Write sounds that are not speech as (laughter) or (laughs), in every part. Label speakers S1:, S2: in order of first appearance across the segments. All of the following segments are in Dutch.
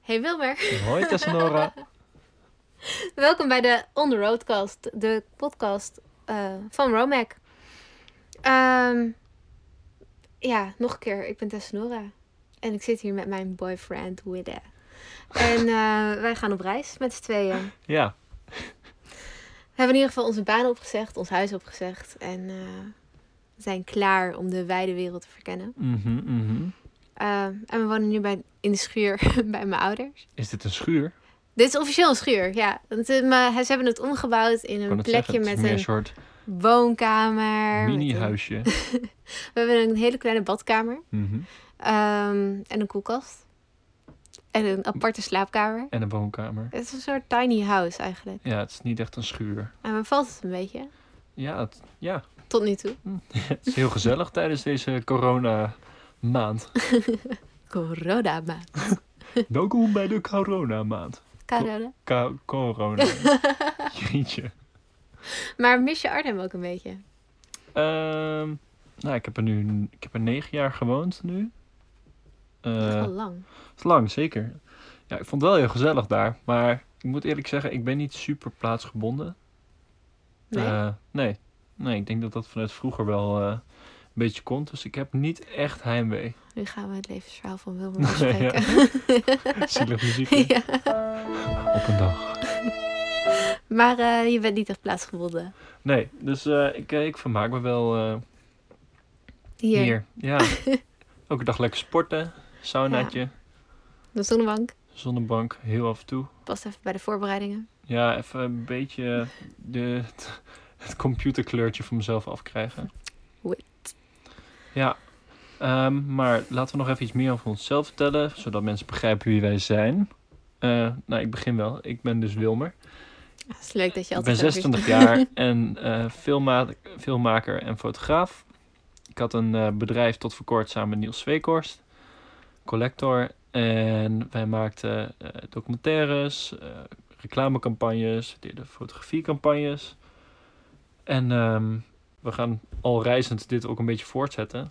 S1: Hey Wilmer, (laughs)
S2: Hoi Tessenora.
S1: welkom bij de On The Roadcast, de podcast eh, van Romac. Ehm, ja, nog een keer, ik ben Tess Nora en ik zit hier met mijn boyfriend Widde. En eh, wij gaan op reis met z'n tweeën.
S2: ja,
S1: We hebben in ieder geval onze baan opgezegd, ons huis opgezegd en eh, we zijn klaar om de wijde wereld te verkennen.
S2: mhm, mhm.
S1: Eh, en we wonen nu bij, in de schuur (laughs) bij mijn ouders.
S2: is dit een schuur?
S1: Dit is officieel een schuur, ja. Want, eh, maar ze hebben het omgebouwd in
S2: Ik
S1: een
S2: kan het
S1: plekje
S2: zeggen, het is
S1: met
S2: meer een
S1: een
S2: soort
S1: woonkamer. met een-
S2: mini-huisje.
S1: We hebben een hele kleine badkamer
S2: Mhm.
S1: ehm, en een koelkast. En een aparte slaapkamer.
S2: En een woonkamer.
S1: Het is een soort tiny house eigenlijk.
S2: Ja, het is niet echt een schuur.
S1: En me valt het een beetje,
S2: Ja, het, ja.
S1: tot nu toe.
S2: het is heel gezellig tijdens deze
S1: (laughs)
S2: corona-maand.
S1: Corona maand.
S2: Welkom bij de corona-maand.
S1: Corona.
S2: Ka-
S1: (laughs)
S2: corona. Jeetje.
S1: Maar mis je Arnhem ook een beetje?
S2: Ehm, nou, ik heb er nu ik heb er negen jaar gewoond nu.
S1: Dat is
S2: Eh,
S1: al lang.
S2: Het is lang, zeker. Ja, ik vond het wel heel gezellig daar. Maar ik moet eerlijk zeggen, ik ben niet super plaatsgebonden.
S1: Nee?
S2: Eh, nee. Nee, ik denk dat dat vanuit vroeger wel eh, een beetje komt. Dus ik heb niet echt heimwee.
S1: Nu gaan we het levensverhaal van
S2: (laughs)
S1: Wilmer
S2: Ja.
S1: bespreken.
S2: Zielig muziekje.
S1: (laughs) ja.
S2: Op een dag.
S1: Maar eh, je bent niet echt plaatsgebonden.
S2: Nee, dus eh, ik, eh, ik vermaak me wel eh,
S1: Hier.
S2: hier. Ja.
S1: (laughs)
S2: Elke dag lekker sporten. Saunaatje.
S1: De zonnebank.
S2: Zonnebank, heel af en toe.
S1: Past even bij de voorbereidingen.
S2: Ja, even een beetje de, (laughs) het, het computerkleurtje van mezelf afkrijgen.
S1: Wit.
S2: Ja, ehm, maar laten we nog even iets meer over onszelf vertellen, zodat mensen begrijpen wie wij zijn. Eh, nou, ik begin wel. Ik ben dus Wilmer.
S1: Het is leuk dat je
S2: Ik ben
S1: altijd... zo weer-
S2: 26 jaar en eh, filmma- filmmaker en fotograaf. Ik had een eh, bedrijf tot voor kort samen met Niels Zweekhorst, collector. En wij maakten eh, documentaires, eh, reclamecampagnes, we deden fotografiecampagnes. En ehm, we gaan al reizend dit ook een beetje voortzetten.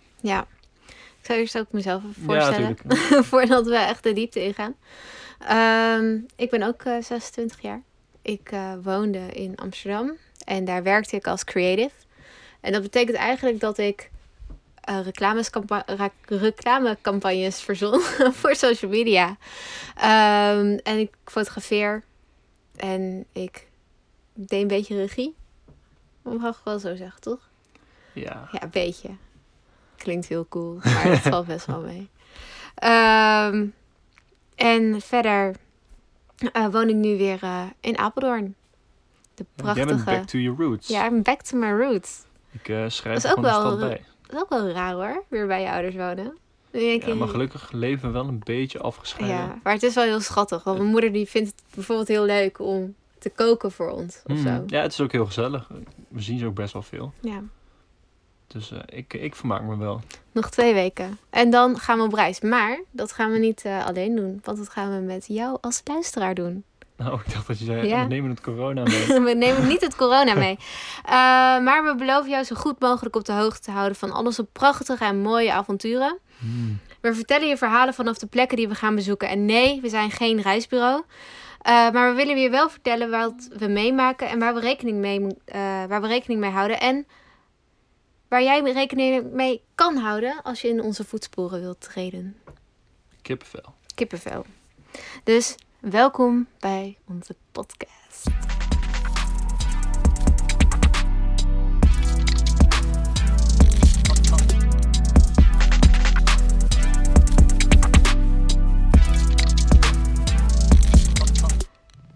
S1: (laughs) Ja. Ik zou eerst ook mezelf even
S2: Ja,
S1: voorstellen.
S2: natuurlijk.
S1: (laughs) voordat we echt de diepte ingaan. Ehm, ik ben ook eh, 26 jaar. Ik eh, woonde in Amsterdam en daar werkte ik als creative. En dat betekent eigenlijk dat ik eh, reclamescampa- ra- reclamecampagnes verzon (laughs) voor social media. Ehm, en ik fotografeer en ik deed een beetje regie. Dat mag ik wel zo zeggen, toch?
S2: Ja.
S1: Ja, een beetje. Klinkt heel cool, maar het valt best wel mee. Ehm, en verder eh, woon ik nu weer eh, in Apeldoorn. De
S2: Jij bent back
S1: prachtige...
S2: to your roots.
S1: Ja, I'm back to my roots.
S2: Ik eh, schrijf
S1: Dat
S2: er
S1: is ook
S2: gewoon
S1: wel
S2: een stad
S1: een-
S2: bij.
S1: Dat is ook wel raar hoor, weer bij je ouders wonen. Dan denk
S2: Ja,
S1: ik-
S2: maar gelukkig leven we wel een beetje afgescheiden.
S1: Ja, maar het is wel heel schattig. Want mijn moeder die vindt het bijvoorbeeld heel leuk om te koken voor ons of
S2: Mm,
S1: zo.
S2: Ja, het is ook heel gezellig. We zien ze ook best wel veel.
S1: Ja.
S2: Dus eh, ik, ik vermaak me wel. (laughs)
S1: Nog twee weken. En dan gaan we op reis. Maar dat gaan we niet eh, alleen doen. Want dat gaan we met jou als luisteraar doen.
S2: Nou, ik dacht dat je zei,
S1: Ja.
S2: we nemen het corona mee.
S1: (laughs) we nemen niet het corona mee. Eh, maar we beloven jou zo goed mogelijk op de hoogte te houden van al onze prachtige en mooie avonturen.
S2: Mm.
S1: We vertellen je verhalen vanaf de plekken die we gaan bezoeken. En nee, we zijn geen reisbureau. Eh, maar we willen je wel vertellen wat we meemaken en waar we rekening mee, moet- eh, waar we rekening mee houden. En waar jij rekening mee kan houden als je in onze voetsporen wilt treden.
S2: Kippenvel.
S1: Kippenvel. Dus welkom bij onze podcast.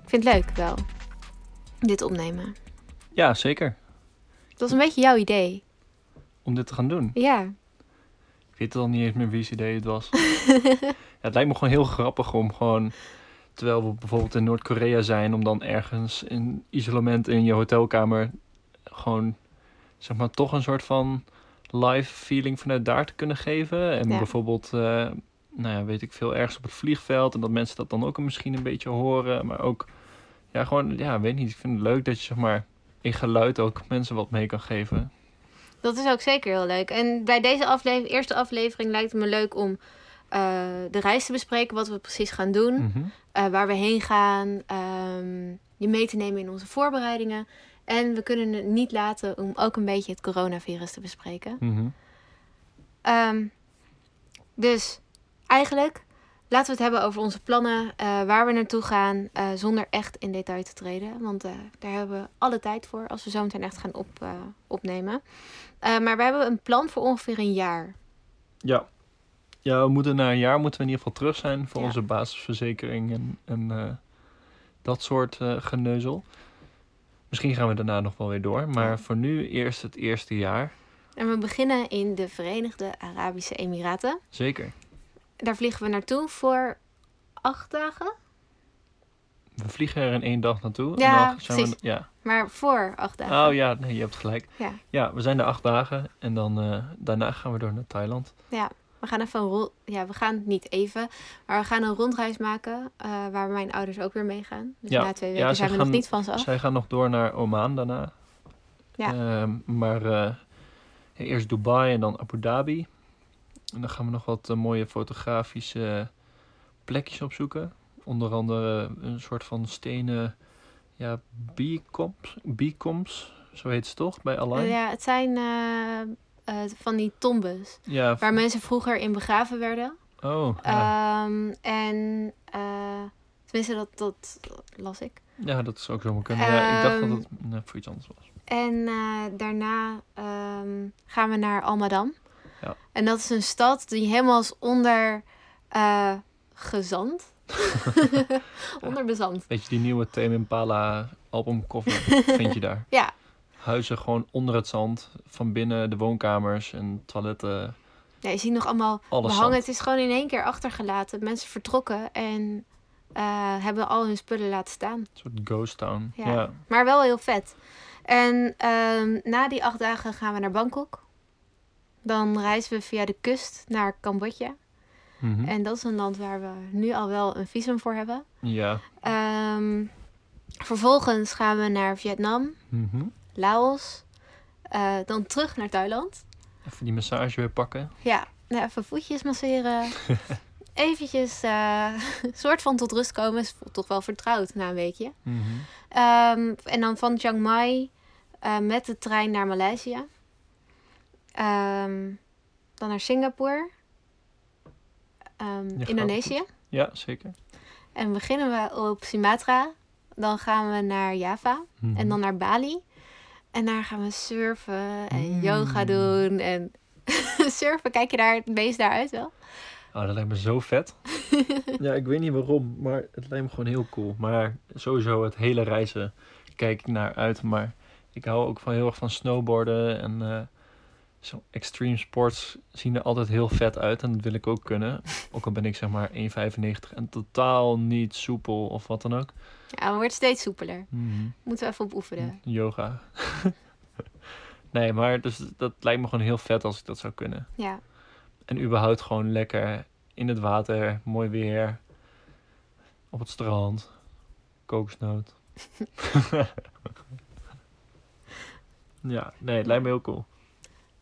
S1: Ik vind het leuk wel, dit opnemen.
S2: Ja, zeker.
S1: Dat was een beetje jouw idee.
S2: Om dit te gaan doen.
S1: Ja,
S2: Ik weet al niet eens meer wie's idee het was. ja, het lijkt me gewoon heel grappig om gewoon... Terwijl we bijvoorbeeld in Noord-Korea zijn... om dan ergens in isolement in je hotelkamer... gewoon, zeg maar, toch een soort van... live feeling vanuit daar te kunnen geven. En
S1: Ja.
S2: bijvoorbeeld... eh, nou ja, weet ik veel, ergens op het vliegveld... en dat mensen dat dan ook misschien een beetje horen. Maar ook, ja, gewoon... Ja, weet niet. Ik vind het leuk dat je, zeg maar... in geluid ook mensen wat mee kan geven.
S1: Dat is ook zeker heel leuk. En bij deze aflevering, eerste aflevering lijkt het me leuk om eh, de reis te bespreken, wat we precies gaan doen,
S2: Mhm.
S1: eh, waar we heen gaan, ehm, je mee te nemen in onze voorbereidingen. En we kunnen het niet laten om ook een beetje het coronavirus te bespreken.
S2: Mhm.
S1: Ehm, dus eigenlijk laten we het hebben over onze plannen, eh, waar we naartoe gaan, eh, zonder echt in detail te treden. Want eh, daar hebben we alle tijd voor als we zo meteen echt gaan op, eh, opnemen. Eh, maar we hebben een plan voor ongeveer een jaar.
S2: Ja. Ja, we moeten na een jaar moeten we in ieder geval terug zijn voor
S1: Ja.
S2: onze basisverzekering en, en eh, dat soort eh, geneuzel. Misschien gaan we daarna nog wel weer door, maar
S1: Ja.
S2: voor nu eerst het eerste jaar.
S1: En we beginnen in de Verenigde Arabische Emiraten.
S2: Zeker.
S1: Daar vliegen we naartoe voor acht dagen.
S2: We vliegen er in één dag naartoe.
S1: Ja,
S2: en dan zijn
S1: precies.
S2: We, ja.
S1: Maar voor acht dagen.
S2: Oh ja, nee, je hebt gelijk.
S1: Ja.
S2: Ja, we zijn er acht dagen en dan eh, daarna gaan we door naar Thailand.
S1: We gaan even een rol. Ja, we gaan niet even. Maar we gaan een rondreis maken. eh, waar mijn ouders ook weer meegaan. Dus
S2: Ja.
S1: na twee
S2: Ja,
S1: weken
S2: ze
S1: zijn we
S2: gaan-
S1: nog niet van ze af.
S2: Zij gaan nog door naar Oman daarna.
S1: Ja.
S2: Ehm, maar eh, eerst Dubai en dan Abu Dhabi. En dan gaan we nog wat eh, mooie fotografische plekjes opzoeken. Onder andere eh, een soort van stenen ja, beacons, beacons, zo heet ze toch, bij Align?
S1: ja, het zijn eh, eh, van die tombes.
S2: Ja,
S1: Waar mensen vroeger in begraven werden.
S2: oh, ja.
S1: Ehm, en. eh, tenminste, dat, dat las ik.
S2: ja, dat is ook zomaar kunnen. Ja, ik dacht dat
S1: ehm,
S2: het nee, voor iets anders was.
S1: En eh, daarna ehm, gaan we naar Almadam.
S2: Ja.
S1: En dat is een stad die helemaal is onder eh, gezand.
S2: (laughs)
S1: (laughs) onder bezand.
S2: Weet je, die nieuwe Tame Impala
S1: (laughs)
S2: albumcover vind je daar.
S1: Ja.
S2: Huizen gewoon onder het zand, van binnen de woonkamers en toiletten,
S1: Ja, je ziet nog allemaal
S2: alles
S1: behangen.
S2: zand.
S1: Het is gewoon in één keer achtergelaten. Mensen vertrokken en eh, hebben al hun spullen laten staan.
S2: Een soort ghost town.
S1: Ja.
S2: Ja.
S1: Maar wel heel vet. En ehm, na die acht dagen gaan we naar Bangkok. Dan reizen we via de kust naar Cambodja.
S2: Mhm.
S1: En dat is een land waar we nu al wel een visum voor hebben.
S2: Ja.
S1: Ehm, vervolgens gaan we naar Vietnam,
S2: Mhm.
S1: Laos, eh, dan terug naar Thailand.
S2: Even die massage weer pakken.
S1: Ja, nou, even voetjes masseren.
S2: (laughs)
S1: Eventjes eh, (laughs) soort van tot rust komen. Is toch wel vertrouwd na een weekje.
S2: Mhm.
S1: Ehm, en dan van Chiang Mai eh, met de trein naar Maleisië. Ehm, dan naar Singapore. Ehm,
S2: gaat
S1: Indonesië.
S2: Ja, zeker.
S1: En beginnen we op Sumatra. Dan gaan we naar Java.
S2: Mhm.
S1: En dan naar Bali. En daar gaan we surfen en
S2: Mm.
S1: yoga doen. En (laughs) surfen, kijk je daar het meest naar uit wel?
S2: Oh, dat lijkt me zo vet. (laughs) ja, ik weet niet waarom, maar het lijkt me gewoon heel cool. Maar sowieso het hele reizen kijk ik naar uit. Maar ik hou ook van heel erg van snowboarden en eh, zo extreme sports zien er altijd heel vet uit. En dat wil ik ook kunnen. Ook al ben ik zeg maar 1,95 en totaal niet soepel of wat dan ook.
S1: Ja, we worden steeds soepeler.
S2: Mhm.
S1: Moeten we even op oefenen.
S2: Mm. Yoga. (laughs) nee, maar dus dat lijkt me gewoon heel vet als ik dat zou kunnen.
S1: Ja.
S2: En überhaupt gewoon lekker in het water, mooi weer, op het strand, kokosnoot. (laughs) ja, nee, het lijkt me heel cool.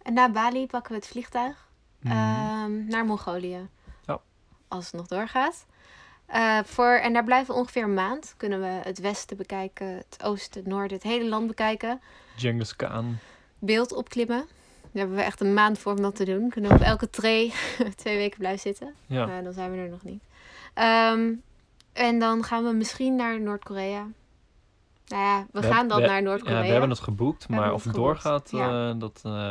S1: En na Bali pakken we het vliegtuig
S2: Mhm.
S1: ehm, naar Mongolië.
S2: Ja.
S1: Als het nog doorgaat. Eh, voor, en daar blijven we ongeveer een maand. Kunnen we het westen bekijken, het oosten, het noorden, het hele land bekijken.
S2: Genghis Khan.
S1: Beeld opklimmen. Daar hebben we echt een maand voor om dat te doen. Kunnen we op elke tree (laughs) twee weken blijven zitten.
S2: Ja,
S1: Maar dan zijn we er nog niet. Ehm, en dan gaan we misschien naar Noord-Korea. Nou ja, we,
S2: We
S1: gaan
S2: heb-
S1: dan
S2: we-
S1: naar Noord-Korea.
S2: ja we hebben het geboekt,
S1: We
S2: maar
S1: hebben
S2: of het
S1: het geboekt,
S2: doorgaat,
S1: ja.
S2: eh, dat... eh,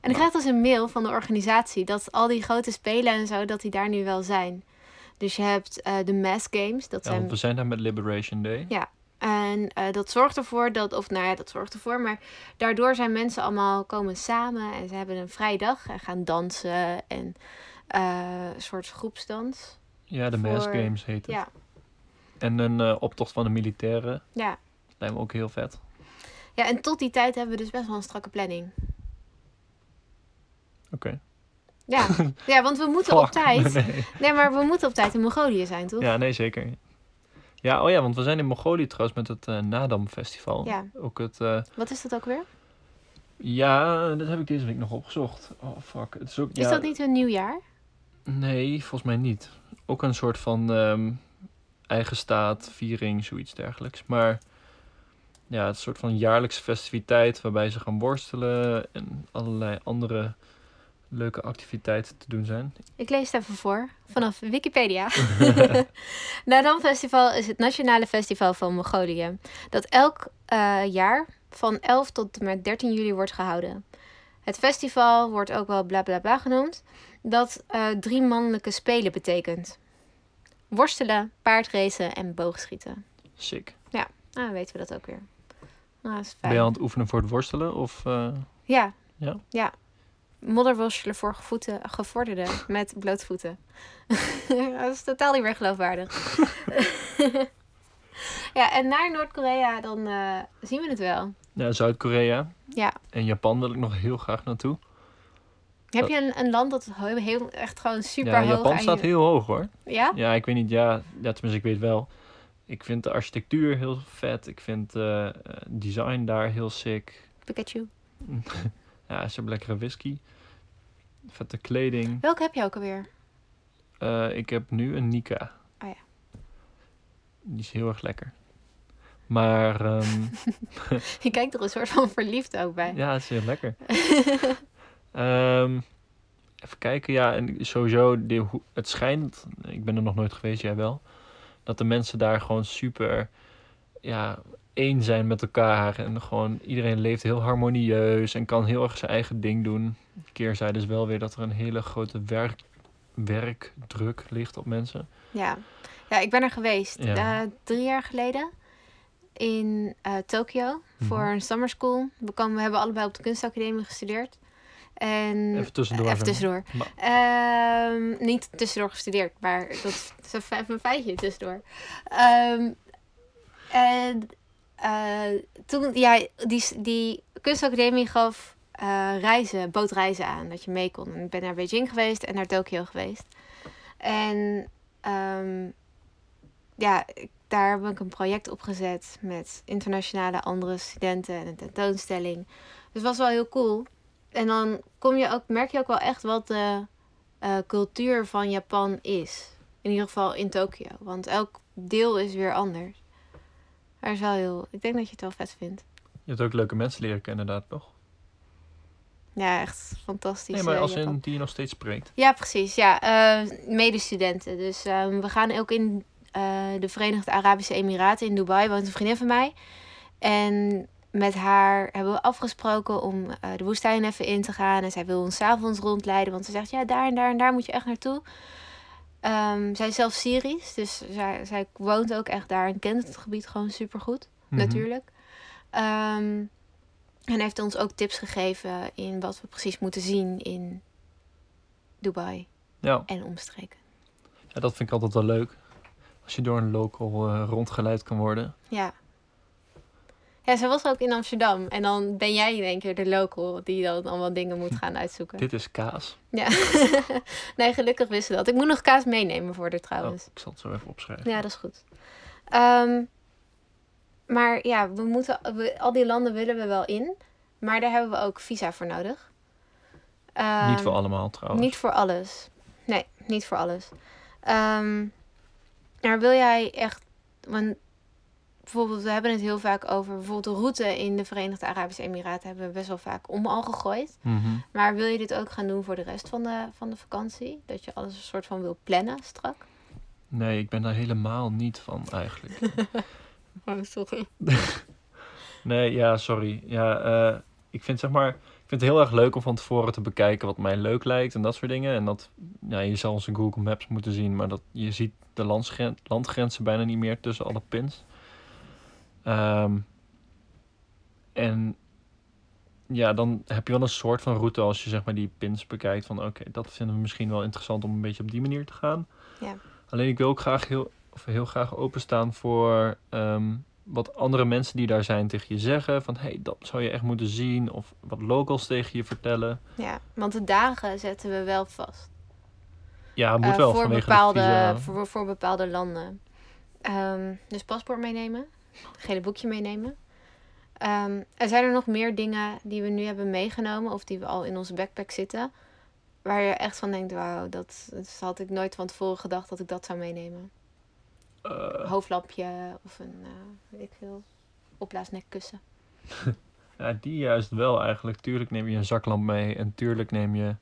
S1: En ik krijg dus een mail van de organisatie dat al die grote spelen en zo, dat die daar nu wel zijn. Dus je hebt eh, de Mass Games, dat
S2: ja,
S1: zijn
S2: want we zijn daar met Liberation Day.
S1: En eh, dat zorgt ervoor dat, of nou ja, dat zorgt ervoor, maar daardoor zijn mensen allemaal komen samen en ze hebben een vrije dag en gaan dansen en eh, een soort groepsdans.
S2: Ja, de Mass
S1: Voor-
S2: Games heet het.
S1: Ja,
S2: En een eh, optocht van de militairen.
S1: ja.
S2: Lijkt me ook heel vet.
S1: ja, en tot die tijd hebben we dus best wel een strakke planning.
S2: Oké.
S1: Ja,
S2: (laughs)
S1: ja want we moeten op
S2: Fuck. (laughs)
S1: tijd.
S2: Nee.
S1: Nee, maar we moeten op tijd in Mongolië zijn, toch?
S2: Ja, nee, zeker. Ja, oh ja, want we zijn in Mongolië trouwens met het eh, Nadam Festival.
S1: Ja.
S2: Ook het, eh,
S1: Wat is dat ook weer?
S2: ja, dat heb ik deze week nog opgezocht. Oh, fuck. Het is ook,
S1: Is
S2: ja,
S1: dat niet hun nieuwjaar?
S2: Nee, volgens mij niet. Ook een soort van ehm, eigen staat, viering, zoiets dergelijks. Maar ja, het is een soort van jaarlijkse festiviteit waarbij ze gaan worstelen en allerlei andere leuke activiteiten te doen zijn.
S1: Ik lees het even voor, vanaf Wikipedia. (laughs) Nadan Festival is het nationale festival van Mongolië, dat elk eh, jaar van 11 tot en met 13 juli wordt gehouden. Het festival wordt ook wel bla bla bla genoemd, dat eh, drie mannelijke spelen betekent. Worstelen, paardracen en boogschieten.
S2: Sick.
S1: Ah, dan weten we dat ook weer. Nou, dat is
S2: Ben
S1: fijn.
S2: je aan het oefenen voor het worstelen of... eh,
S1: Ja.
S2: Ja?
S1: Ja. Modderworstelen voor gevoeten, gevorderden met blootvoeten. (laughs) dat is totaal niet meer geloofwaardig. (laughs) ja, en naar Noord-Korea, dan eh, zien we het wel.
S2: Ja, Zuid-Korea
S1: Ja.
S2: en Japan wil ik nog heel graag naartoe.
S1: Heb je een, een land dat heel, heel- echt gewoon super
S2: ja,
S1: hoog
S2: Japan
S1: aan
S2: staat
S1: je-
S2: heel hoog hoor.
S1: Ja?
S2: Ja, ik weet niet. Ja, ja, tenminste, ik weet wel. Ik vind de architectuur heel vet. Ik vind eh, eh, design daar heel sick.
S1: Pikachu.
S2: Ja, ze hebben lekkere whisky. Vette kleding.
S1: Welke heb je ook alweer? (laughs)
S2: Eh, ik heb nu een Nika.
S1: Oh ja.
S2: Die is heel erg lekker. Maar ehm,
S1: Je kijkt er een soort van verliefd ook bij.
S2: ja, het is heel lekker. Ehm, even kijken, ja. En sowieso, die, hoe- het schijnt, ik ben er nog nooit geweest, jij wel, dat de mensen daar gewoon super ja, één zijn met elkaar. En gewoon iedereen leeft heel harmonieus en kan heel erg zijn eigen ding doen. Keerzijde is wel weer dat er een hele grote werk, werkdruk ligt op mensen.
S1: Ja. ja, ik ben er geweest.
S2: Ja.
S1: eh, drie jaar geleden in eh Tokio voor
S2: Mhm.
S1: een summer school. We, kwamen- we hebben allebei op de kunstacademie gestudeerd. En
S2: Even tussendoor.
S1: Mm, even
S2: zeg
S1: tussendoor.
S2: Maar-
S1: Ehm, niet tussendoor gestudeerd, maar dat is een fijn- een feitje tussendoor. Ehm, en eh, toen, ja, die, die kunstacademie gaf eh, reizen, bootreizen aan, dat je mee kon. En ik ben naar Beijing geweest en naar Tokio geweest. En ehm, ja, ik- daar heb ik een project opgezet met internationale andere studenten en een tentoonstelling. Dus het was wel heel cool. En dan kom je ook, merk je ook wel echt wat de eh, cultuur van Japan is. In ieder geval in Tokio. Want elk deel is weer anders. Maar het is wel heel... Ik denk dat je het wel vet vindt.
S2: Je hebt ook leuke mensen leren kennen, inderdaad, toch?
S1: Ja, echt fantastisch.
S2: Nee, maar
S1: eh,
S2: als
S1: Japan.
S2: in die je nog steeds spreekt.
S1: Ja, precies. Ja, Eh, medestudenten. Dus ehm, we gaan ook in eh, de Verenigde Arabische Emiraten in Dubai. Woont een vriendin van mij. En met haar hebben we afgesproken om eh, de woestijn even in te gaan. En zij wil ons 's avonds rondleiden. Want ze zegt, ja, daar en daar en daar moet je echt naartoe. Ehm, zij is zelf Syrisch. Dus zij, zij woont ook echt daar en kent het gebied gewoon supergoed
S2: Mhm.
S1: natuurlijk. Ehm, en heeft ons ook tips gegeven in wat we precies moeten zien in Dubai
S2: Ja.
S1: en omstreken.
S2: Ja, dat vind ik altijd wel leuk. Als je door een local eh, rondgeleid kan worden.
S1: Ja. Ja, ze was ook in Amsterdam. En dan ben jij in één keer de local die dan allemaal dingen moet gaan uitzoeken.
S2: Hm. Dit is kaas.
S1: Ja. (laughs) nee, gelukkig wisten dat. Ik moet nog kaas meenemen voor haar
S2: Oh,
S1: trouwens.
S2: ik zal het zo even opschrijven.
S1: Ja, dat is goed. Ehm, maar ja, we moeten, we- al die landen willen we wel in. Maar daar hebben we ook visa voor nodig.
S2: Niet voor
S1: Ehm,
S2: allemaal trouwens.
S1: Niet voor alles. Nee, niet voor alles. Ehm, maar wil jij echt. Want bijvoorbeeld, we hebben het heel vaak over. Bijvoorbeeld, de route in de Verenigde Arabische Emiraten hebben we best wel vaak om al gegooid.
S2: Mhm.
S1: Maar wil je dit ook gaan doen voor de rest van de, van de vakantie? Dat je alles een soort van wil plannen strak?
S2: Nee, ik ben daar helemaal niet van eigenlijk.
S1: Oh, sorry.
S2: nee, ja, sorry. Ja, eh, ik vind zeg maar... Ik vind het heel erg leuk om van tevoren te bekijken wat mij leuk lijkt en dat soort dingen. En dat, ja, je zal onze Google Maps moeten zien, maar dat, je ziet de landsgren- landgrenzen bijna niet meer tussen alle pins. Ehm, en ja, dan heb je wel een soort van route als je zeg maar die pins bekijkt van oké, dat vinden we misschien wel interessant om een beetje op die manier te gaan.
S1: Ja.
S2: Alleen ik wil ook graag heel, of heel graag openstaan voor ehm, wat andere mensen die daar zijn tegen je zeggen. Van hey, dat zou je echt moeten zien. Of wat locals tegen je vertellen.
S1: Ja, want de dagen zetten we wel vast.
S2: Ja, het moet
S1: Eh,
S2: wel
S1: voor,
S2: vanwege
S1: bepaalde,
S2: de visa.
S1: voor, voor bepaalde landen. Ehm, dus paspoort meenemen, gele boekje meenemen. Ehm, er zijn er nog meer dingen die we nu hebben meegenomen of die we al in onze backpack zitten, Waar je echt van denkt, wauw, dat, dat had ik nooit van tevoren gedacht dat ik dat zou meenemen. Een
S2: Eh,
S1: hoofdlampje of een, eh, weet ik veel, opblaasnekkussen.
S2: ja, die juist wel eigenlijk. Tuurlijk neem je een zaklamp mee en tuurlijk neem je...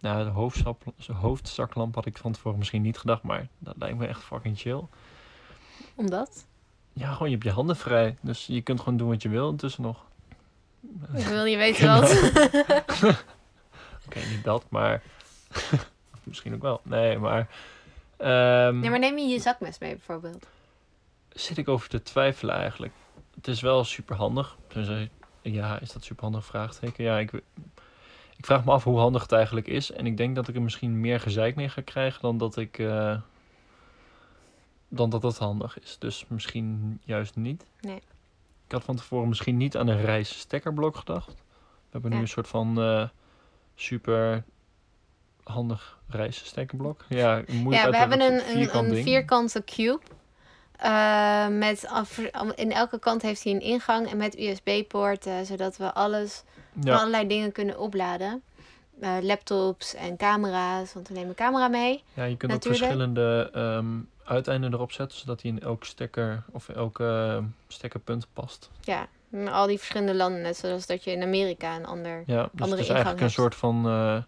S2: Nou, de hoofdzap- hoofdzaklamp had ik van tevoren misschien niet gedacht, maar dat lijkt me echt fucking chill.
S1: Omdat?
S2: Ja, gewoon je hebt je handen vrij, dus je kunt gewoon doen wat je wil intussen nog.
S1: Ik wil niet weten
S2: Genau.
S1: wat.
S2: Oké, niet dat, maar (laughs) misschien ook wel. Nee, maar, ehm,
S1: (laughs) Nee, maar neem je je zakmes mee bijvoorbeeld.
S2: zit ik over te twijfelen eigenlijk. Het is wel superhandig. handig. Ja, is dat superhandig? Vraagteken. Ja, ik, we- ik vraag me af hoe handig het eigenlijk is. En ik denk dat ik er misschien meer gezeik mee ga krijgen dan dat ik. eh, dan dat dat handig is. Dus misschien juist niet.
S1: Nee.
S2: Ik had van tevoren misschien niet aan een reissteckerblok gedacht. We hebben
S1: Ja.
S2: nu een soort van eh, super handig reissteckerblok. Ja, moeilijk
S1: Ja,
S2: uit
S1: we
S2: te
S1: hebben
S2: leggen,
S1: een,
S2: het is
S1: een, een
S2: ding.
S1: vierkante cube. Eh, met, af- in elke kant heeft hij een ingang en met USB-poorten, zodat we alles,
S2: Ja,
S1: allerlei dingen kunnen opladen. Eh, laptops en camera's, want we nemen camera mee.
S2: Ja, je kunt ook
S1: Natuurlijk.
S2: verschillende ehm, uiteinden erop zetten, zodat hij in elk stekker of elk eh, stekkerpunt past.
S1: Ja, in al die verschillende landen, net zoals dat je in Amerika een ander
S2: Ja, dus
S1: Andere
S2: het
S1: ingang
S2: is eigenlijk een
S1: hebt.
S2: soort van. eh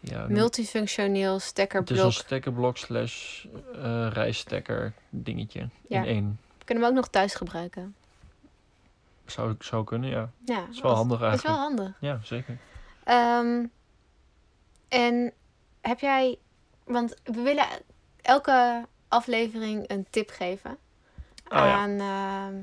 S2: ja, hoe noem je het?
S1: multifunctioneel
S2: het is een
S1: stekkerblok.
S2: stekkerblok slash eh, rijstekker dingetje
S1: Ja.
S2: in één.
S1: Kunnen we ook nog thuis gebruiken.
S2: Zou, zou kunnen, ja.
S1: Ja,
S2: Het is wel
S1: als-
S2: handig
S1: is wel
S2: eigenlijk.
S1: handig.
S2: Ja, zeker.
S1: Ehm, en heb jij, want we willen elke aflevering een tip geven
S2: Oh, ja.
S1: aan, ehm,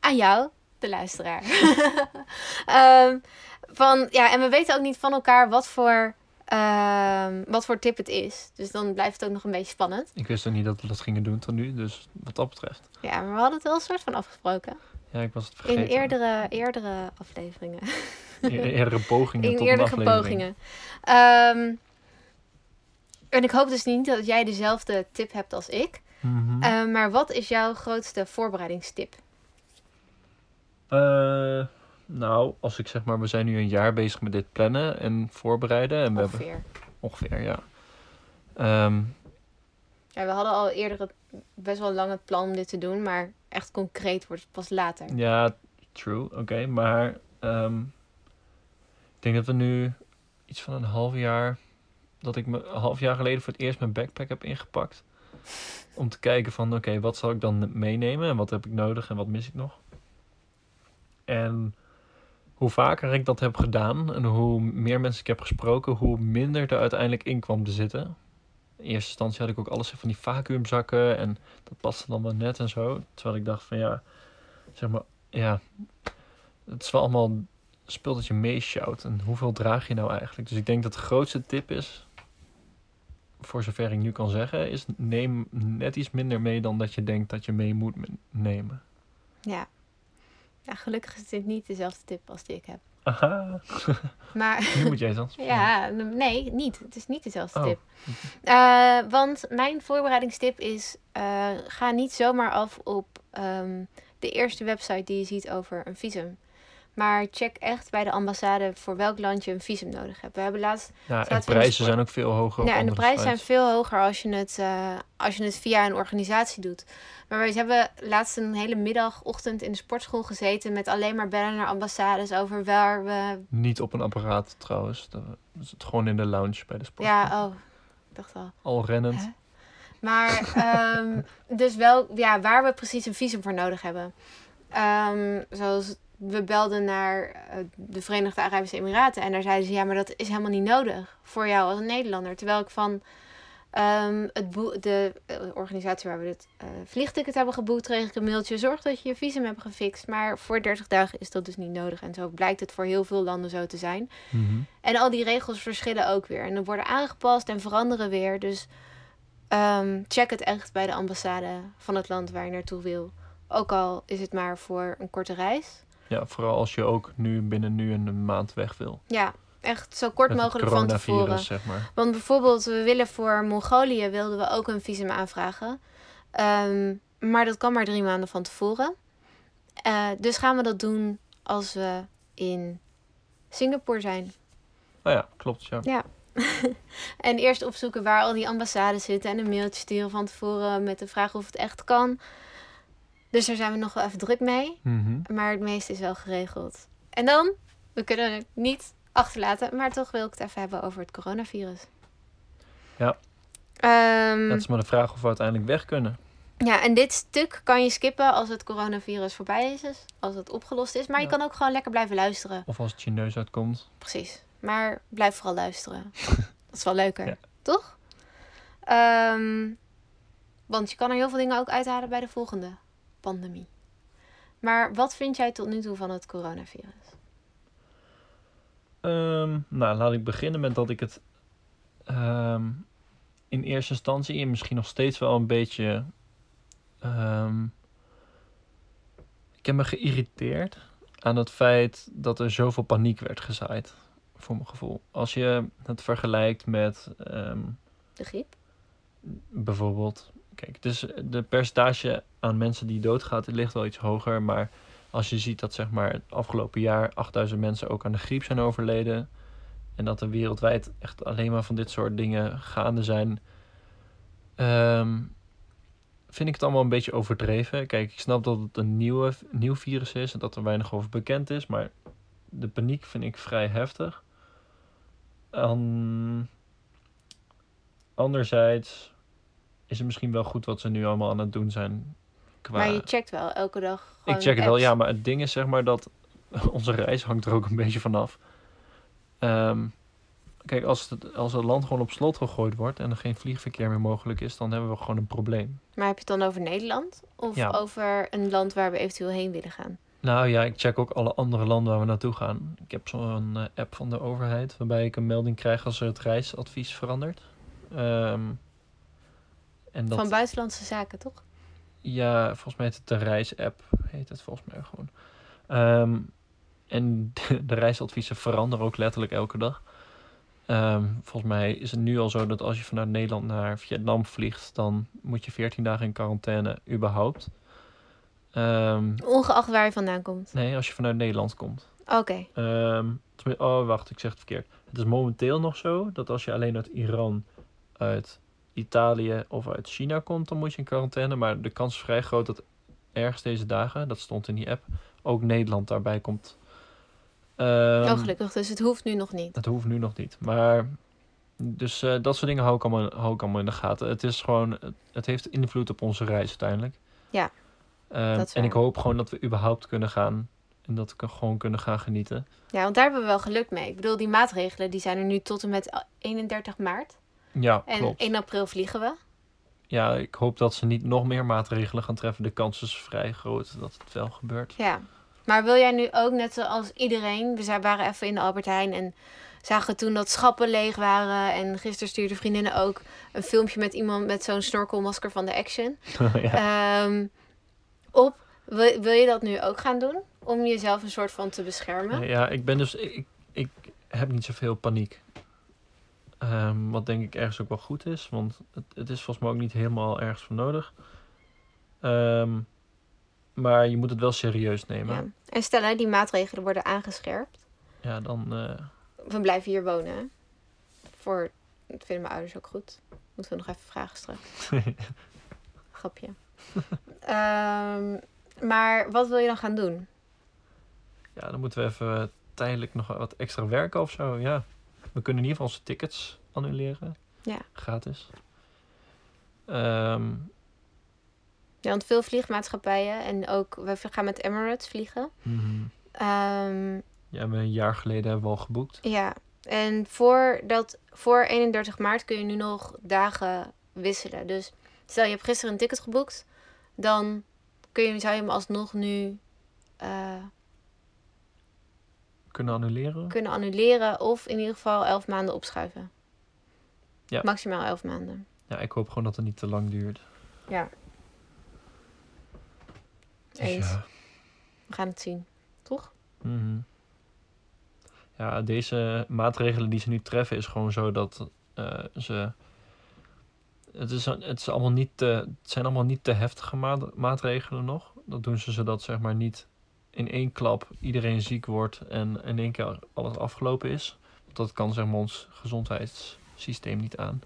S1: aan jou, de luisteraar. (laughs) Ehm, van, ja, en we weten ook niet van elkaar wat voor, ehm, wat voor tip het is. Dus dan blijft het ook nog een beetje spannend.
S2: Ik wist ook niet dat we dat gingen doen tot nu, dus wat dat betreft.
S1: Ja, maar we hadden het wel een soort van afgesproken.
S2: Ja, ik was het vergeten.
S1: In eerdere, eerdere afleveringen.
S2: E-
S1: (laughs)
S2: eerdere
S1: in
S2: pogingen tot een
S1: eerdere
S2: aflevering.
S1: pogingen. Ehm, en ik hoop dus niet dat jij dezelfde tip hebt als ik.
S2: Mhm.
S1: Ehm, maar wat is jouw grootste voorbereidingstip?
S2: Eh, nou, als ik zeg maar, we zijn nu een jaar bezig met dit plannen en voorbereiden. En we hebben
S1: Ongeveer.
S2: ongeveer, ja. Ehm,
S1: Ja, we hadden al eerder het, best wel lang het plan om dit te doen, maar echt concreet wordt het pas later.
S2: ja, true, oké. maar ehm, ik denk dat we nu iets van een half jaar, dat ik me een half jaar geleden voor het eerst mijn backpack heb ingepakt. Om te kijken van, oké, wat zal ik dan meenemen en wat heb ik nodig en wat mis ik nog? En hoe vaker ik dat heb gedaan en hoe meer mensen ik heb gesproken, hoe minder er uiteindelijk in kwam te zitten. In eerste instantie had ik ook alles van die vacuümzakken en dat paste dan wel net en zo. Terwijl ik dacht van ja, zeg maar, ja, het is wel allemaal spul dat je meesjouwt. En hoeveel draag je nou eigenlijk? Dus ik denk dat de grootste tip is, voor zover ik nu kan zeggen, is neem net iets minder mee dan dat je denkt dat je mee moet men- nemen.
S1: Ja. ja, gelukkig is dit niet dezelfde tip als die ik heb.
S2: Aha,
S1: Maar
S2: nu moet jij dan.
S1: (laughs) ja, n- nee, niet. Het is niet dezelfde
S2: Oh. (laughs)
S1: tip. Eh, want mijn voorbereidingstip is: eh, ga niet zomaar af op ehm, de eerste website die je ziet over een visum. Maar check echt bij de ambassade voor welk land je een visum nodig hebt. We hebben laatst
S2: Ja, en
S1: Zaten we in de
S2: prijzen
S1: sport.
S2: zijn ook veel hoger.
S1: Ja,
S2: op
S1: en de
S2: andere
S1: prijzen zijn
S2: sites.
S1: veel hoger als je, het, eh, als je het via een organisatie doet. Maar wij hebben laatst een hele middag, ochtend in de sportschool gezeten met alleen maar bellen naar ambassades over waar we.
S2: Niet op een apparaat trouwens. Dat is het gewoon in de lounge bij de sport.
S1: Ja, oh, ik dacht al.
S2: Al rennend.
S1: Hè? Maar ehm, dus wel ja, waar we precies een visum voor nodig hebben. Ehm, zoals we belden naar eh, de Verenigde Arabische Emiraten. En daar zeiden ze, ja, maar dat is helemaal niet nodig voor jou als Nederlander. Terwijl ik van ehm, het boe- de eh, organisatie waar we het eh, vliegticket hebben geboekt, kreeg ik een mailtje. Zorg dat je je visum hebt gefixt. Maar voor 30 dagen is dat dus niet nodig. En zo blijkt het voor heel veel landen zo te zijn.
S2: Mhm.
S1: En al die regels verschillen ook weer. En dan worden aangepast en veranderen weer. Dus ehm, check het echt bij de ambassade van het land waar je naartoe wil. Ook al is het maar voor een korte reis.
S2: Ja, vooral als je ook nu binnen nu en een maand weg wil.
S1: Ja, echt zo kort
S2: Met het
S1: mogelijk van tevoren.
S2: zeg maar.
S1: Want bijvoorbeeld, we willen voor Mongolië wilden we ook een visum aanvragen. Ehm, maar dat kan maar drie maanden van tevoren. Eh, dus gaan we dat doen als we in Singapore zijn.
S2: Nou ja, klopt, ja.
S1: Ja. en eerst opzoeken waar al die ambassades zitten en een mailtje sturen van tevoren met de vraag of het echt kan. Dus daar zijn we nog wel even druk mee.
S2: Mhm.
S1: Maar het meeste is wel geregeld. En dan, we kunnen het niet achterlaten, maar toch wil ik het even hebben over het coronavirus.
S2: Ja.
S1: Ehm,
S2: Dat is maar de vraag of we uiteindelijk weg kunnen.
S1: ja, en dit stuk kan je skippen als het coronavirus voorbij is, dus als het opgelost is. Maar je
S2: Ja.
S1: kan ook gewoon lekker blijven luisteren.
S2: Of als het je neus uitkomt.
S1: Precies. Maar blijf vooral
S2: (laughs)
S1: luisteren. dat is wel leuker,
S2: Ja.
S1: toch? Ehm, want je kan er heel veel dingen ook uithalen bij de volgende pandemie. Maar wat vind jij tot nu toe van het coronavirus?
S2: Ehm, nou, laat ik beginnen met dat ik het ehm, in eerste instantie en misschien nog steeds wel een beetje. ehm, ik heb me geïrriteerd aan het feit dat er zoveel paniek werd gezaaid, voor mijn gevoel. Als je het vergelijkt met ehm,
S1: De griep?
S2: bijvoorbeeld. Kijk, dus de percentage aan mensen die doodgaat ligt wel iets hoger. Maar als je ziet dat zeg maar, het afgelopen jaar 8000 mensen ook aan de griep zijn overleden. En dat er wereldwijd echt alleen maar van dit soort dingen gaande zijn. ehm, vind ik het allemaal een beetje overdreven. Kijk, ik snap dat het een nieuwe, nieuw virus is en dat er weinig over bekend is. Maar de paniek vind ik vrij heftig. Ehm, anderzijds is het misschien wel goed wat ze nu allemaal aan het doen zijn. Qua...
S1: Maar je checkt wel elke dag.
S2: Ik
S1: gewoon
S2: check het wel,
S1: apps.
S2: ja, maar het ding is zeg maar dat (laughs) onze reis hangt er ook een beetje vanaf. Ehm kijk, als het, als het land gewoon op slot gegooid wordt en er geen vliegverkeer meer mogelijk is, dan hebben we gewoon een probleem.
S1: Maar heb je het dan over Nederland? Of
S2: Ja.
S1: over een land waar we eventueel heen willen gaan?
S2: Nou ja, ik check ook alle andere landen waar we naartoe gaan. Ik heb zo'n eh, app van de overheid waarbij ik een melding krijg als er het reisadvies verandert. Ehm, en dat,
S1: Van buitenlandse zaken, toch?
S2: Ja, volgens mij heet het de reisapp. Heet het volgens mij gewoon. Ehm, en (laughs) de reisadviezen veranderen ook letterlijk elke dag. Ehm, volgens mij is het nu al zo dat als je vanuit Nederland naar Vietnam vliegt, dan moet je 14 dagen in quarantaine überhaupt. Ehm,
S1: Ongeacht waar je vandaan komt.
S2: nee, als je vanuit Nederland komt.
S1: Oké.
S2: Ehm, tenmin- oh, wacht, ik zeg het verkeerd. Het is momenteel nog zo dat als je alleen uit Iran, uit Italië of uit China komt, dan moet je in quarantaine. Maar de kans is vrij groot dat ergens deze dagen, dat stond in die app, ook Nederland daarbij komt. Ehm,
S1: oh, gelukkig. Dus het hoeft nu nog niet.
S2: dat hoeft nu nog niet. Maar dus eh, dat soort dingen hou ik, allemaal, hou ik allemaal in de gaten. Het is gewoon, het heeft invloed op onze reis uiteindelijk.
S1: Ja,
S2: Ehm,
S1: dat is
S2: en ik
S1: waar.
S2: hoop gewoon dat we überhaupt kunnen gaan. En dat we gewoon kunnen gaan genieten.
S1: Ja, want daar hebben we wel geluk mee. Ik bedoel, die maatregelen die zijn er nu tot en met 31 maart.
S2: Ja,
S1: En
S2: klopt.
S1: 1 april vliegen we.
S2: Ja, ik hoop dat ze niet nog meer maatregelen gaan treffen. De kans is vrij groot dat het wel
S1: (laughs)
S2: gebeurt.
S1: Ja. Maar wil jij nu ook, net zoals iedereen... We zijn- waren even in de Albert Heijn en zagen toen dat schappen leeg waren. En gisteren stuurde vriendinnen ook een filmpje met iemand met zo'n snorkelmasker van de Action.
S2: ja.
S1: Ehm, op. Wil, wil je dat nu ook gaan doen? Om jezelf een soort van te beschermen?
S2: Nee, ja, ik ben dus... Ik, ik, ik heb niet zoveel paniek. Ehm, wat denk ik ergens ook wel goed is. Want het, het is volgens mij ook niet helemaal ergens voor nodig. Ehm, maar je moet het wel serieus nemen.
S1: Ja.
S2: Ja,
S1: En stel, hè, die maatregelen worden aangescherpt.
S2: dan... eh,
S1: We blijven hier wonen. hè? Voor, dat vinden mijn ouders ook goed. Moeten we nog even vragen straks. Grapje. Ehm, maar wat wil je dan gaan doen?
S2: ja, dan moeten we even eh, tijdelijk nog wat extra werken of zo. Ja, we kunnen in ieder geval onze tickets annuleren.
S1: Ja.
S2: Gratis. Ehm,
S1: Ja, want veel vliegmaatschappijen en ook we gaan met Emirates vliegen. Ehm,
S2: mhm. Ja, we een jaar geleden hebben we al geboekt.
S1: ja, en voor, dat, voor 31 maart kun je nu nog dagen wisselen. Dus stel je hebt gisteren een ticket geboekt, dan kun je, zou je hem alsnog nu eh,
S2: Kunnen annuleren.
S1: kunnen annuleren of in ieder geval elf maanden opschuiven.
S2: Ja.
S1: Maximaal elf maanden.
S2: Ja, ik hoop gewoon dat het niet te lang duurt. Dus
S1: Eens.
S2: ja.
S1: We gaan het zien. Toch?
S2: Mhm. Ja, deze maatregelen die ze nu treffen is gewoon zo dat eh, ze... Het, is, het, is allemaal niet te, het zijn allemaal niet te heftige maat- maatregelen nog. Dat doen ze zodat zeg maar niet in één klap iedereen ziek wordt en in één keer alles afgelopen is. dat kan zeg maar ons gezondheidssysteem niet aan.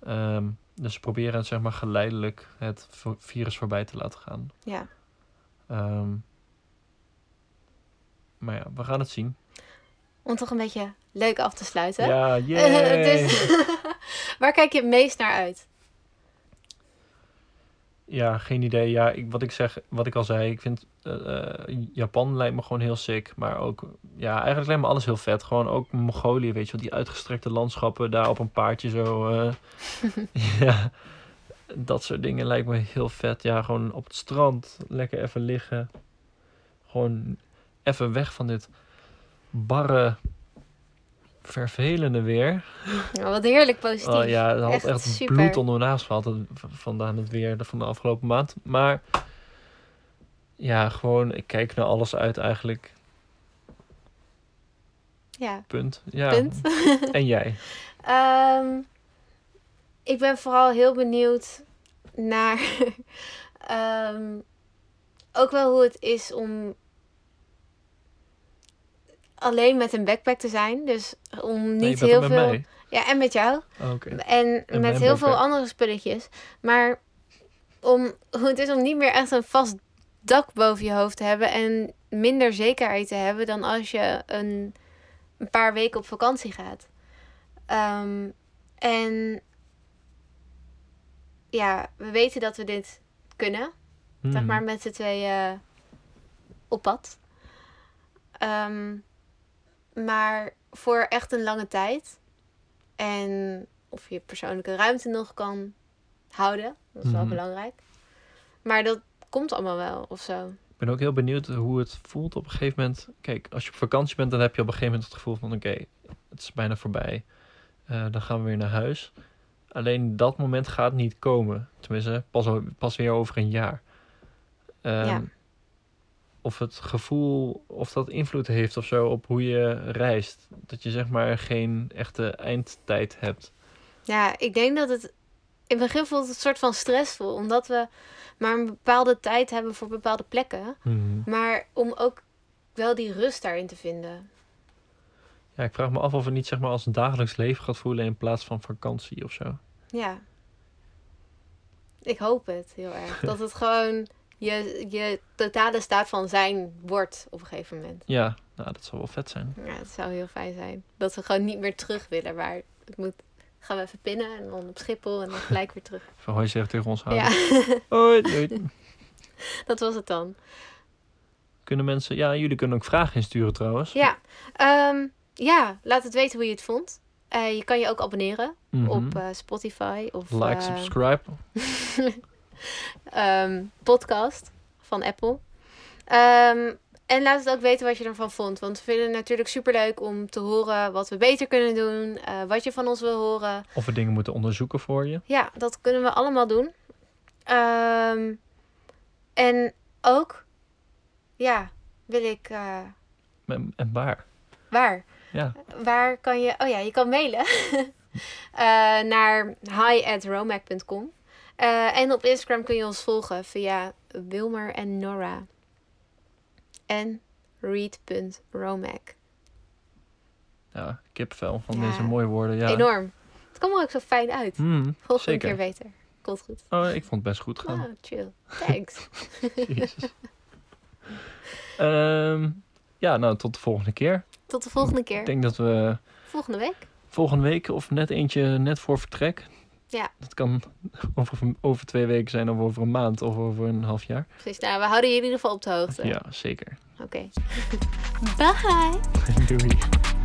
S2: Ehm, dus ze proberen zeg maar geleidelijk het vo- virus voorbij te laten gaan.
S1: Ja.
S2: Ehm, maar ja, we gaan het zien.
S1: Om toch een beetje leuk af te sluiten. (laughs)
S2: Ja,
S1: Eh,
S2: yay!
S1: dus, (laughs) waar kijk je het meest naar uit?
S2: Ja, geen idee. Ja, ik, wat ik zeg, wat ik al zei, ik vind eh, eh, Japan lijkt me gewoon heel sick. Maar ook, ja, eigenlijk lijkt me alles heel vet. Gewoon ook Mongolië, weet je wel, die uitgestrekte landschappen daar op een paardje zo. eh, ja, dat soort dingen lijkt me heel vet. Ja, gewoon op het strand, lekker even liggen. Gewoon even weg van dit barre, vervelende weer.
S1: Nou, Wat heerlijk positief.
S2: Oh ja, het had echt,
S1: Echt super.
S2: bloed onder mijn naast gehad eh, v- vandaan het weer van de afgelopen maand. Maar ja, gewoon, ik kijk naar alles uit eigenlijk.
S1: Ja,
S2: Punt. Ja.
S1: punt. (laughs)
S2: En jij?
S1: Ehm, ik ben vooral heel benieuwd naar (laughs) ehm, ook wel hoe het is om alleen met een backpack te zijn. Dus om
S2: Nee, je
S1: niet
S2: bent
S1: heel
S2: ook met
S1: veel.
S2: mij.
S1: Ja, en met jou.
S2: Oh, Oké.
S1: En,
S2: En
S1: met
S2: mijn
S1: heel veel
S2: backpack.
S1: andere spulletjes. Maar om, hoe het is om niet meer echt een vast dak boven je hoofd te hebben. En minder zekerheid te hebben dan als je een, een paar weken op vakantie gaat. Ehm, en ja, we weten dat we dit kunnen zeg
S2: Hmm.
S1: maar met z'n tweeën eh, op pad. Ehm, maar voor echt een lange tijd. En of je persoonlijke ruimte nog kan houden. Dat is wel
S2: Mhm.
S1: belangrijk. Maar dat komt allemaal wel of zo.
S2: Ik ben ook heel benieuwd hoe het voelt op een gegeven moment. Kijk, als je op vakantie bent, dan heb je op een gegeven moment het gevoel van... Oké, het is bijna voorbij. Eh, dan gaan we weer naar huis. Alleen dat moment gaat niet komen. Tenminste, pas, o- pas weer over een jaar. Ehm,
S1: Ja.
S2: Of het gevoel, of dat invloed heeft of zo op hoe je reist. Dat je zeg maar geen echte eindtijd hebt.
S1: Ja, ik denk dat het. In het begin voelt het een soort van stressvol. Omdat we maar een bepaalde tijd hebben voor bepaalde plekken. Maar om ook wel die rust daarin te vinden.
S2: Ja, ik vraag me af of het niet zeg maar als een dagelijks leven gaat voelen in plaats van vakantie of zo.
S1: Ja. Ik hoop het heel erg. Dat het gewoon je, je totale staat van zijn wordt op een gegeven moment.
S2: Ja, nou, dat zal wel vet zijn.
S1: Ja, het zou heel fijn zijn. Dat we gewoon niet meer terug willen. Maar het moet, gaan we even pinnen en dan op Schiphol en dan gelijk weer terug.
S2: Van hoi zegt tegen ons houden. Oh,
S1: Ja,
S2: Hoi, doei.
S1: (laughs) dat was het dan.
S2: Kunnen mensen... Ja, jullie kunnen ook vragen insturen trouwens.
S1: Ja, ehm, ja laat het weten hoe je het vond. Eh, je kan je ook abonneren
S2: Mhm.
S1: op eh, Spotify of
S2: like,
S1: eh,
S2: subscribe.
S1: ehm, podcast van Apple. Ehm, en laat het ook weten wat je ervan vond. Want we vinden het natuurlijk superleuk om te horen wat we beter kunnen doen. eh, wat je van ons wil horen.
S2: Of we dingen moeten onderzoeken voor je.
S1: Ja, dat kunnen we allemaal doen. Ehm, en ook, ja, wil ik. eh,
S2: En, en waar.
S1: waar?
S2: Ja.
S1: Waar kan je. Oh ja, je kan mailen (laughs) Eh, naar hi.romac.com. Eh, en op Instagram kun je ons volgen via Wilmer en Nora. En read.romac.
S2: Ja, kipvel van
S1: Ja.
S2: deze mooie woorden. Ja.
S1: Enorm. Het kwam er ook zo fijn uit.
S2: Mm,
S1: Volgende
S2: zeker.
S1: keer beter. Komt goed.
S2: Oh, ik vond het best goed gaan.
S1: Nou, chill. Thanks.
S2: (laughs) Jezus. Ehm, ja, nou, tot de volgende keer.
S1: Tot de volgende
S2: Ik
S1: keer.
S2: denk dat we
S1: Volgende week.
S2: volgende week of net eentje net voor vertrek.
S1: Ja.
S2: Dat kan over, over twee weken zijn of over een maand of over een half jaar.
S1: Precies. Nou, we houden jullie in ieder geval op de hoogte.
S2: Ja, zeker.
S1: Oké. Bye.
S2: Doei.